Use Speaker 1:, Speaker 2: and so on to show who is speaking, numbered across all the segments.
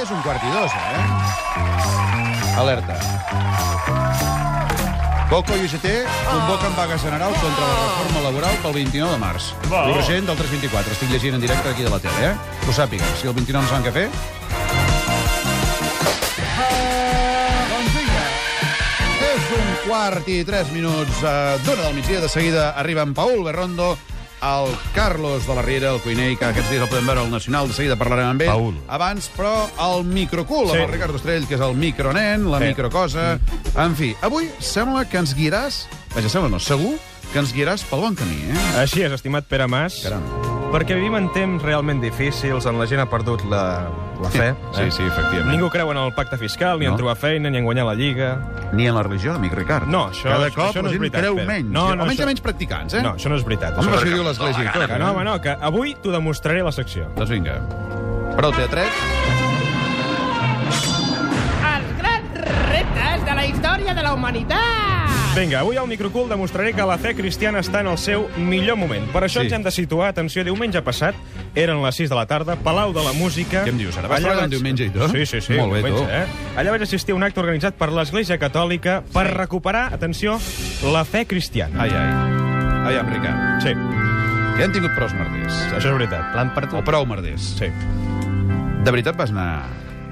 Speaker 1: És un quart i dos, eh? Alerta. Coco i UGT convoquen vaga general contra la reforma laboral pel 29 de març.
Speaker 2: Va.
Speaker 1: L'urgent del 324. Estic llegint en directe aquí de la tele, eh? Que ho sàpiguen. Si el 29 no saben què fer... Doncs vinga. És un quart i tres minuts eh, d'una del migdia. De seguida arriba en Paul Berrondo, el Carlos de la Riera, el cuiner, que aquests dies el podem veure al Nacional. De seguida parlarem amb ell.
Speaker 2: Paul.
Speaker 1: Abans, però, el microcul,
Speaker 2: Sí.
Speaker 1: amb el Ricard Ostrell, que és el micronen, la
Speaker 2: Sí.
Speaker 1: microcosa... En fi, avui sembla que ens guiaràs... Vaja, sembla no, segur que ens guiaràs pel bon camí, eh?
Speaker 2: Així és, estimat Pere Mas.
Speaker 1: Caram.
Speaker 2: Perquè vivim en temps realment difícils, on la gent ha perdut la, la fe. eh?
Speaker 1: Sí, sí, efectivament.
Speaker 2: Ningú creu en el pacte fiscal, ni
Speaker 1: No.
Speaker 2: en trobar feina, ni en guanyar la Lliga.
Speaker 1: Ni en la religió, amic Ricard.
Speaker 2: No, això-
Speaker 1: Cada
Speaker 2: això
Speaker 1: cop
Speaker 2: no
Speaker 1: la
Speaker 2: és
Speaker 1: gent
Speaker 2: veritat,
Speaker 1: creu
Speaker 2: Pere.
Speaker 1: menys.
Speaker 2: No, no,
Speaker 1: Almenys
Speaker 2: això-
Speaker 1: hi ha menys practicants, eh?
Speaker 2: No, això no és veritat.
Speaker 1: Home,
Speaker 2: Això-
Speaker 1: però si diu l'església i tot,
Speaker 2: Que no, home, no, que avui t'ho demostraré la secció.
Speaker 1: Doncs vinga. Prou teatret.
Speaker 3: Els grans reptes de la història de la humanitat!
Speaker 2: Vinga, avui al Microcool demostraré que la fe cristiana està en el seu millor moment. Per això
Speaker 1: Sí.
Speaker 2: ens hem de situar, atenció, diumenge passat, eren les 6 de la tarda, Palau de la Música...
Speaker 1: Què em dius, ara? Vas treballar un diumenge i tot?
Speaker 2: Sí, sí, sí.
Speaker 1: Molt bé,
Speaker 2: diumenge,
Speaker 1: tu.
Speaker 2: Eh? Allà vaig assistir a un acte organitzat per l'Església Catòlica per recuperar, atenció, la fe cristiana.
Speaker 1: Ai, ai. Ai, en Ricard.
Speaker 2: Sí,
Speaker 1: Que hem tingut prous merders.
Speaker 2: això és veritat. L'han
Speaker 1: O prou merders.
Speaker 2: Sí.
Speaker 1: De veritat vas anar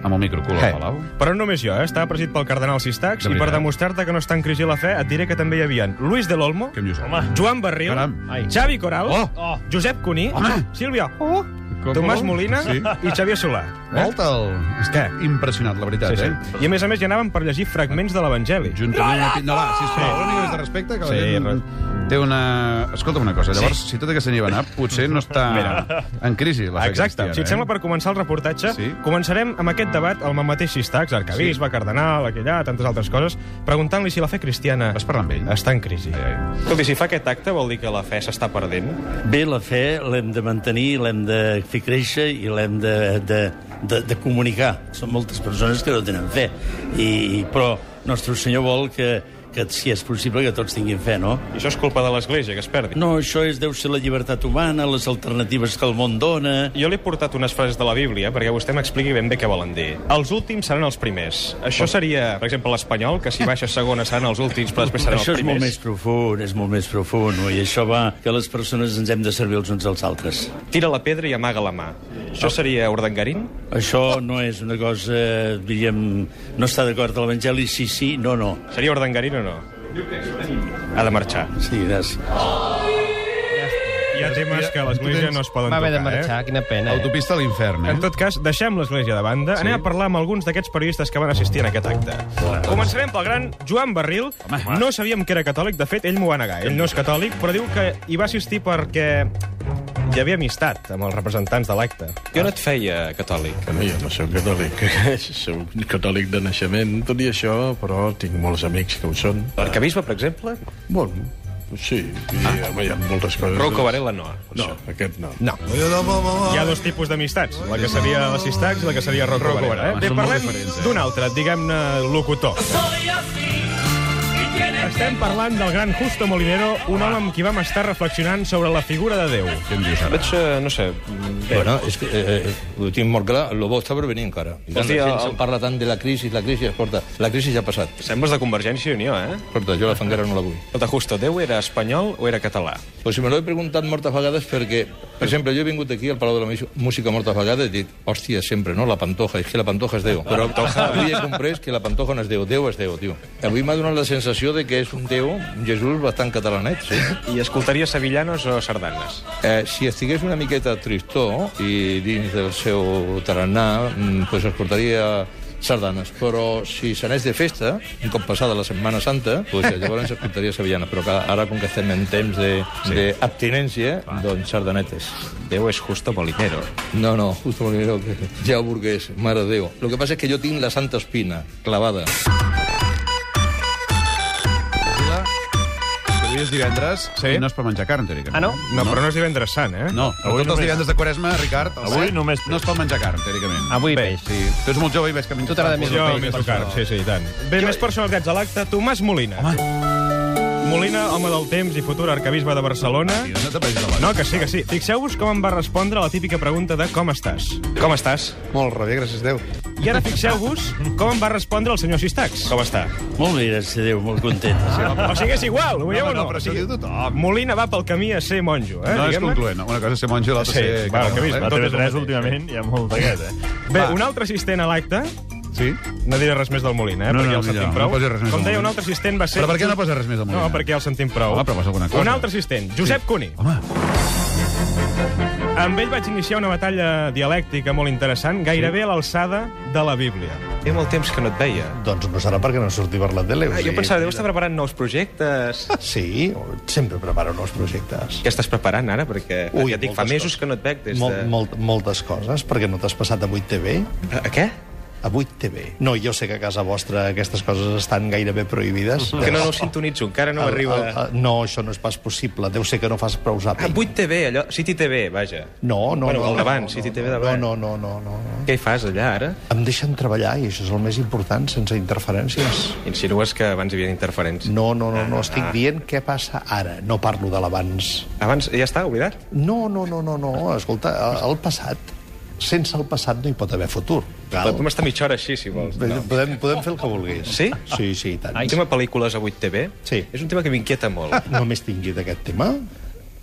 Speaker 1: amb el microcul al Palau?
Speaker 2: Però no només jo, eh? estava presidit pel cardenal Sistax
Speaker 1: Eh. De
Speaker 2: i per
Speaker 1: veritat.
Speaker 2: demostrar-te que no està en crisi la fe et diré que també hi havien Luis de l'Olmo,
Speaker 1: Què em dius? Home.
Speaker 2: Joan Barril,
Speaker 1: Caram.
Speaker 2: Ai. Xavi Coral,
Speaker 1: Oh.
Speaker 2: Oh. Josep Cuní,
Speaker 1: Home.
Speaker 2: Sílvia oh.
Speaker 1: Com,
Speaker 2: Tomàs
Speaker 1: com?
Speaker 2: Molina
Speaker 1: Sí.
Speaker 2: i Xavier Solà.
Speaker 1: Volta el... Estic impressionat, la veritat,
Speaker 2: Sí, sí.
Speaker 1: eh?
Speaker 2: I a més a més ja anaven per llegir fragments de l'Evangeli.
Speaker 1: Juntament amb... No, va, sisplau, una mica més de respecte, que la
Speaker 2: Sí,
Speaker 1: gent té una... Escolta'm una cosa, llavors, si tota aquesta nit va anar, potser no està
Speaker 2: Mira.
Speaker 1: en crisi la fe
Speaker 2: Exacte.
Speaker 1: cristiana,
Speaker 2: Si et
Speaker 1: eh?
Speaker 2: sembla, per començar el reportatge,
Speaker 1: Sí.
Speaker 2: començarem amb aquest debat amb el mateix Sistax, arcabisbe, sí. cardenal, aquella, tantes altres coses, preguntant-li si la fe cristiana
Speaker 1: Vas parlar amb ell?
Speaker 2: està en crisi.
Speaker 1: eh? Ai, ai.
Speaker 2: Escolti, si fa aquest acte vol dir que la fe s'està perdent?
Speaker 4: Bé, la fe l'hem de mantenir, l'hem de fer créixer i l'hem de, de, de, de comunicar. Són moltes persones que no tenen fe, I, però nostre Senyor vol que, que si és possible que tots tinguin fe, no?
Speaker 2: I això és culpa de l'Església, que es perdi.
Speaker 4: No, això és, deu ser la llibertat humana, les alternatives que el món dona...
Speaker 2: Jo li he portat unes frases de la Bíblia perquè vostè m'expliqui ben bé què volen dir. Els últims seran els primers. Això seria, per exemple, l'espanyol, que si baixa segona seran els últims, però després seran
Speaker 4: Això
Speaker 2: els
Speaker 4: és molt
Speaker 2: primers.
Speaker 4: més profund, és molt més profund, no? i això va que les persones ens hem de servir els uns als altres.
Speaker 2: Tira la pedra i amaga la mà. Això seria ordengarín?
Speaker 4: Això no és una cosa, diguem, no està d'acord amb l'Evangeli, sí, sí, no, no.
Speaker 2: Seria ordengarín o no? Ha de marxar.
Speaker 4: Sí, gràcies.
Speaker 2: Hi ha temes que a l'Església no es poden
Speaker 5: Va haver de
Speaker 2: tocar, eh?
Speaker 5: marxar, quina pena, eh?
Speaker 1: Autopista a l'infern, eh?
Speaker 2: En tot cas, deixem l'Església de banda, sí. anem a parlar amb alguns d'aquests periodistes que van assistir en aquest acte. Començarem pel gran Joan Barril. No sabíem que era catòlic, de fet, ell m'ho va negar. Ell no és catòlic, però diu que hi va assistir perquè hi havia amistat amb els representants de l'acte. I on et feia catòlic?
Speaker 6: Que no, jo no sóc catòlic. Soc catòlic de naixement, tot i això, però tinc molts amics que ho són.
Speaker 2: L'arcabisbe, per exemple?
Speaker 6: Bon, sí, i, home, hi ha moltes coses...
Speaker 2: Varela no.
Speaker 6: Ah. No, aquest no.
Speaker 2: No. Hi ha dos tipus d'amistats, la que seria la Sistax i la que seria Rocco
Speaker 1: Rocco
Speaker 2: Varela.
Speaker 1: Varela.
Speaker 2: Eh? Bé,
Speaker 1: Són molt
Speaker 2: parlem
Speaker 1: diferents, eh?
Speaker 2: d'un altre, diguem-ne locutor. Estem parlant del gran Justo Molinero, un home amb qui vam estar reflexionant sobre la figura de Déu. Què em dius, ara? Veig, eh, no sé...
Speaker 7: Bueno, és que eh, eh, ho tinc molt clar, el bo està per venir encara. I tant,
Speaker 2: Hòstia,
Speaker 7: la gent
Speaker 2: el-
Speaker 7: se'n parla tant de la crisi, la crisi, escolta, la crisi ja ha passat.
Speaker 2: Sembles de Convergència i Unió, eh?
Speaker 7: Escolta, jo la fa encara no la vull.
Speaker 2: Escolta, Justo, Déu era espanyol o era català?
Speaker 7: Pues si me l'he preguntat moltes vegades perquè, per exemple, jo he vingut aquí al Palau de la Mú- Música moltes vegades i dic, hòstia, sempre, no? La Pantoja, és que la Pantoja és Déu. Però avui he comprès que la Pantoja no és Déu, Déu és Déu, tio. Avui m'ha donat la sensació de que és un Déu, un Jesús bastant catalanet, sí.
Speaker 2: I escoltaria sevillanos o sardanes?
Speaker 7: Eh, si estigués una miqueta tristó i dins del seu tarannà, mm, pues escoltaria sardanes. Però si se n'és de festa, un cop passada la Setmana Santa, pues llavors escoltaria sevillanes. Però que ara, com que estem en temps d'abstinència, sí. doncs sardanetes.
Speaker 2: Déu és Justo Molinero.
Speaker 7: No, no, justo Molinero, que ja ho burgués, mare de Déu. Lo que passa és que jo tinc la Santa Espina clavada.
Speaker 1: Vila, que avui és divendres
Speaker 2: Sí.
Speaker 1: i no és per menjar carn, teòricament.
Speaker 5: Ah, no?
Speaker 2: No, però no és divendres sant, eh?
Speaker 1: No, avui tots els divendres de Quaresma, Ricard, el
Speaker 2: Avui
Speaker 1: set,
Speaker 2: només peix.
Speaker 1: no es pot menjar carn, teòricament.
Speaker 5: Avui
Speaker 2: Bé,
Speaker 5: peix.
Speaker 1: Sí. Tu ets molt jove i veig que menges
Speaker 5: Tu t'agrada més
Speaker 2: Jo
Speaker 5: el peix,
Speaker 2: m'he
Speaker 5: per
Speaker 2: tocat,
Speaker 5: això.
Speaker 2: sí, sí, i tant. Bé, més personalitats a l'acte, Tomàs Molina. Home. Molina, home del temps i futur arcabisbe de Barcelona.
Speaker 1: Tio, no t'apagis la
Speaker 2: No, que sí, que sí. Fixeu-vos com em va respondre la típica pregunta de com estàs. Com estàs?
Speaker 5: Molt rebé, gràcies a Déu.
Speaker 2: I ara fixeu-vos com em va respondre el senyor Sistax. Com està?
Speaker 4: Molt bé, gràcies a Déu, molt content.
Speaker 2: O sigui, és igual, ho veieu
Speaker 1: no,
Speaker 2: o
Speaker 1: no,
Speaker 2: no?
Speaker 1: però sí, tothom.
Speaker 2: Molina va pel camí a ser monjo, eh?
Speaker 1: No és
Speaker 2: diguem-ne.
Speaker 1: concloent. no? Una cosa és ser monja i l'altra
Speaker 2: Sí,
Speaker 1: ser...
Speaker 2: va,
Speaker 1: català,
Speaker 2: que vist,
Speaker 1: eh?
Speaker 2: no
Speaker 8: A
Speaker 2: tot és el
Speaker 8: TV3
Speaker 2: mateix.
Speaker 8: últimament hi ha molt d'aquest, eh?
Speaker 2: Bé,
Speaker 1: Va.
Speaker 2: un altre assistent a l'acte...
Speaker 1: Sí?
Speaker 2: No diré res més del Molina, eh?
Speaker 1: No, no,
Speaker 2: perquè ja
Speaker 1: no,
Speaker 2: el sentim
Speaker 1: millor,
Speaker 2: prou.
Speaker 1: no posis res més
Speaker 2: Com
Speaker 1: del
Speaker 2: deia, un
Speaker 1: Molina.
Speaker 2: altre assistent va ser...
Speaker 1: Però per què no poses res més del Molina?
Speaker 2: No, perquè ja el sentim prou.
Speaker 1: Home, però posa alguna cosa.
Speaker 2: Un altre assistent, Josep Cuní.
Speaker 1: Home,
Speaker 2: Amb ell vaig iniciar una batalla dialèctica molt interessant, gairebé a l'alçada de la Bíblia. Té molt temps que no et veia.
Speaker 5: Doncs però serà perquè no surti per la tele. o
Speaker 2: Ah, jo
Speaker 5: sigui,
Speaker 2: pensava, deu estar preparant nous projectes.
Speaker 5: Sí, sempre preparo nous projectes.
Speaker 2: Què estàs preparant ara? Perquè
Speaker 5: Ui,
Speaker 2: Ui, ja et dic, fa
Speaker 5: moltes
Speaker 2: mesos
Speaker 5: coses.
Speaker 2: que no et veig des de...
Speaker 5: Mol, molt, moltes coses, perquè no t'has passat a 8TV?
Speaker 2: A, a Eh, què?
Speaker 5: A 8TV. No, jo sé que a casa vostra aquestes coses estan gairebé prohibides.
Speaker 2: Que no, no ho sintonitzo, encara no
Speaker 5: El-
Speaker 2: arriba...
Speaker 5: el- el- no, això no és pas possible. Deu ser que no fas prou
Speaker 2: Ah,
Speaker 5: zapping.
Speaker 2: 8 TV, allò... City TV, vaja.
Speaker 5: No, no,
Speaker 2: Bueno,
Speaker 5: no.
Speaker 2: el d'abans,
Speaker 5: no, no,
Speaker 2: City TV
Speaker 5: no,
Speaker 2: d'abans.
Speaker 5: No, no, no, no, no.
Speaker 2: Què hi fas allà, ara?
Speaker 5: Em deixen treballar, i això és el més important, sense interferències.
Speaker 2: Insinues que abans hi havia interferències.
Speaker 5: No, no, no, no,
Speaker 2: Ah.
Speaker 5: estic dient què passa ara. No parlo de l'abans.
Speaker 2: Abans ja està, oblidat?
Speaker 5: No, no, no, no, no. Escolta, el- el passat... Sense el passat no hi pot haver futur. Val?
Speaker 2: Podem estar mitja hora així, si vols.
Speaker 5: Bé, Podem, podem fer el que vulguis.
Speaker 2: Sí?
Speaker 5: Sí, sí, i tant.
Speaker 2: El tema pel·lícules a 8 TV
Speaker 5: Sí. Ah.
Speaker 2: és un tema que m'inquieta molt.
Speaker 5: No m'he extingit aquest tema?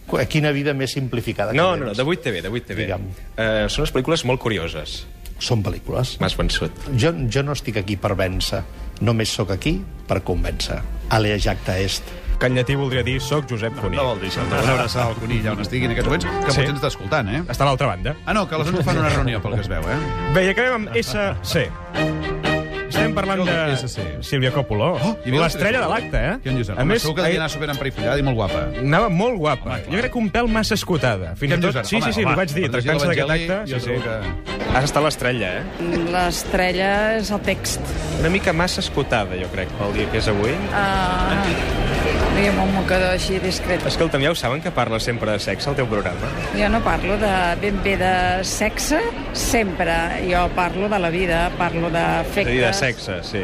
Speaker 5: Qu- Quina vida més simplificada que
Speaker 2: No,
Speaker 5: tens.
Speaker 2: no, no, de 8 TV, de 8 TV.
Speaker 5: Digue'm.
Speaker 2: Eh, són unes pel·lícules molt curioses.
Speaker 5: Són pel·lícules.
Speaker 2: M'has vençut.
Speaker 5: Jo, jo no estic aquí per vèncer. Només sóc aquí per convèncer. Alea jacta est.
Speaker 2: Que en llatí voldria dir soc Josep Cuní.
Speaker 1: no vol dir això. Una abraçada al conill on estigui en aquests moments, que
Speaker 2: Sí.
Speaker 1: potser ens està escoltant, eh?
Speaker 2: Està a l'altra banda.
Speaker 1: Ah, no, que a les 11 fan una reunió, pel que es veu, eh?
Speaker 2: Bé, i acabem amb SC. Estem parlant
Speaker 1: Què vol dir
Speaker 2: de
Speaker 1: SC?
Speaker 2: Sílvia Coppola,
Speaker 1: Oh, hi havia
Speaker 2: l'estrella de l'acte,
Speaker 1: Que en
Speaker 2: eh?
Speaker 1: Josep, a més, segur que devia anar superemparifellada i molt guapa.
Speaker 2: anava molt guapa.
Speaker 1: Home, clar.
Speaker 2: jo crec que un pèl massa escotada. Fins
Speaker 1: Què
Speaker 2: i
Speaker 1: em dius
Speaker 2: tot...
Speaker 1: ara?
Speaker 2: Sí,
Speaker 1: Home,
Speaker 2: sí, sí,
Speaker 1: va,
Speaker 2: t'ho vaig dir.
Speaker 1: quan llegir
Speaker 2: Tractant-se d'aquest
Speaker 1: l'Evangeli,
Speaker 2: acte...
Speaker 1: jo
Speaker 2: Sí, sí.
Speaker 1: segur que-
Speaker 2: Has estat l'estrella, eh?
Speaker 9: L'estrella és el text.
Speaker 2: Una mica massa escotada, jo crec, el dia que és avui.
Speaker 9: Uh, diguem un mocador així discret.
Speaker 2: Escolta'm, ja ho saben que parles sempre de sexe al teu programa.
Speaker 9: Jo no parlo de ben bé de sexe, sempre. Jo parlo de la vida, parlo
Speaker 2: És a dir, de
Speaker 9: d'efectes...
Speaker 2: sexe, sí.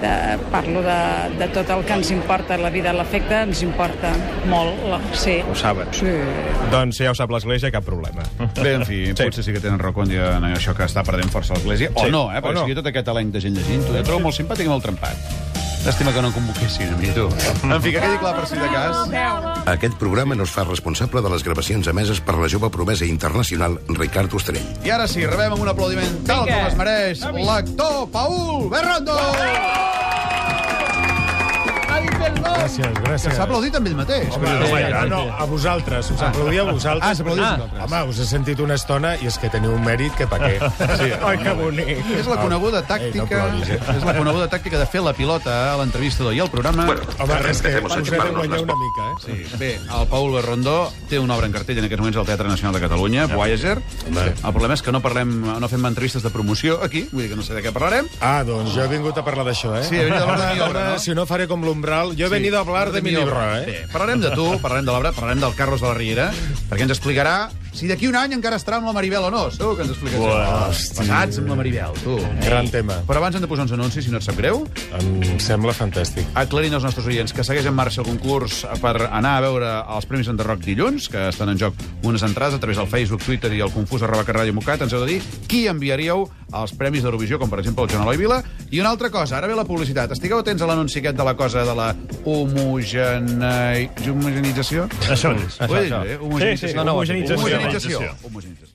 Speaker 9: De, parlo de, de tot el que ens importa. La vida, l'efecte, ens importa molt. La, sí.
Speaker 2: Ho saben.
Speaker 9: Sí.
Speaker 2: Doncs si ja ho sap l'Església, cap problema.
Speaker 1: Bé, en fi, sí. potser sí que tenen raó quan diuen això que està perdent força l'Església. O
Speaker 2: Sí.
Speaker 1: no, eh?
Speaker 2: O
Speaker 1: Perquè
Speaker 2: no.
Speaker 1: no. tot aquest elenc de gent llegint, ho trobo molt simpàtic i molt trempat. L'estima que no em convoquessin a mi, tu. En fi, que quedi clar per si de cas.
Speaker 10: Aquest programa no es fa responsable de les gravacions emeses per la jove promesa internacional Ricard Ostrell.
Speaker 1: I ara sí, rebem amb un aplaudiment tal com es mereix l'actor Paul Berrondo! Ai, perdó!
Speaker 8: Gràcies,
Speaker 1: Que
Speaker 8: gràcies.
Speaker 1: s'ha aplaudit amb ell mateix.
Speaker 8: Home, home, ja, no, a vosaltres. Us aplaudia a vosaltres.
Speaker 1: Ah, s'aplaudia a vosaltres.
Speaker 8: Home, us he sentit una estona i és que teniu un mèrit que pa què. Sí,
Speaker 2: Ai, que bonic.
Speaker 1: És la coneguda tàctica,
Speaker 8: Ei, no ploris, eh?
Speaker 1: és la coneguda tàctica de fer la pilota a l'entrevistador i al programa. Bueno,
Speaker 8: Home, res que us he de guanyar una mica, eh?
Speaker 1: Sí. Bé, el Paul Rondó té una obra en cartell en aquests moments al Teatre Nacional de Catalunya, Voyager. El problema és que no parlem, no fem entrevistes de promoció aquí, vull dir que no sé de què parlarem.
Speaker 8: Ah, doncs jo he vingut a parlar d'això, eh?
Speaker 1: Sí, he vingut a parlar de mi obra, no?
Speaker 8: Si no faré com l'Umbral, jo he venit a parlar de mi libro, eh?
Speaker 1: Bé, parlarem de tu, parlarem de l'obra, parlarem del Carlos de la Riera, perquè ens explicarà si d'aquí un any encara estarà amb la Maribel o no. Segur que ens explicarà. Uah, Passats amb la Maribel, tu.
Speaker 8: Gran tema.
Speaker 1: Però abans hem de posar uns anuncis, si no et sap greu.
Speaker 8: Em sembla fantàstic.
Speaker 1: aclarint als nostres oients que segueix en marxa el concurs per anar a veure els Premis Enderroc dilluns, que estan en joc unes entrades a través del Facebook, Twitter i el confús arroba que Ràdio Mocat. Ens heu de dir qui enviaríeu als Premis d'Eurovisió, com per exemple el Joan Eloi Vila. I una altra cosa, ara ve la publicitat. Estigueu atents a l'anunci aquest de la cosa de la homogene... homogenització?
Speaker 8: Això és.
Speaker 1: Ho he dit bé? Homogenització.
Speaker 2: Sí, sí, no, no,
Speaker 1: homogenització.
Speaker 2: homogenització.
Speaker 1: Homogenització.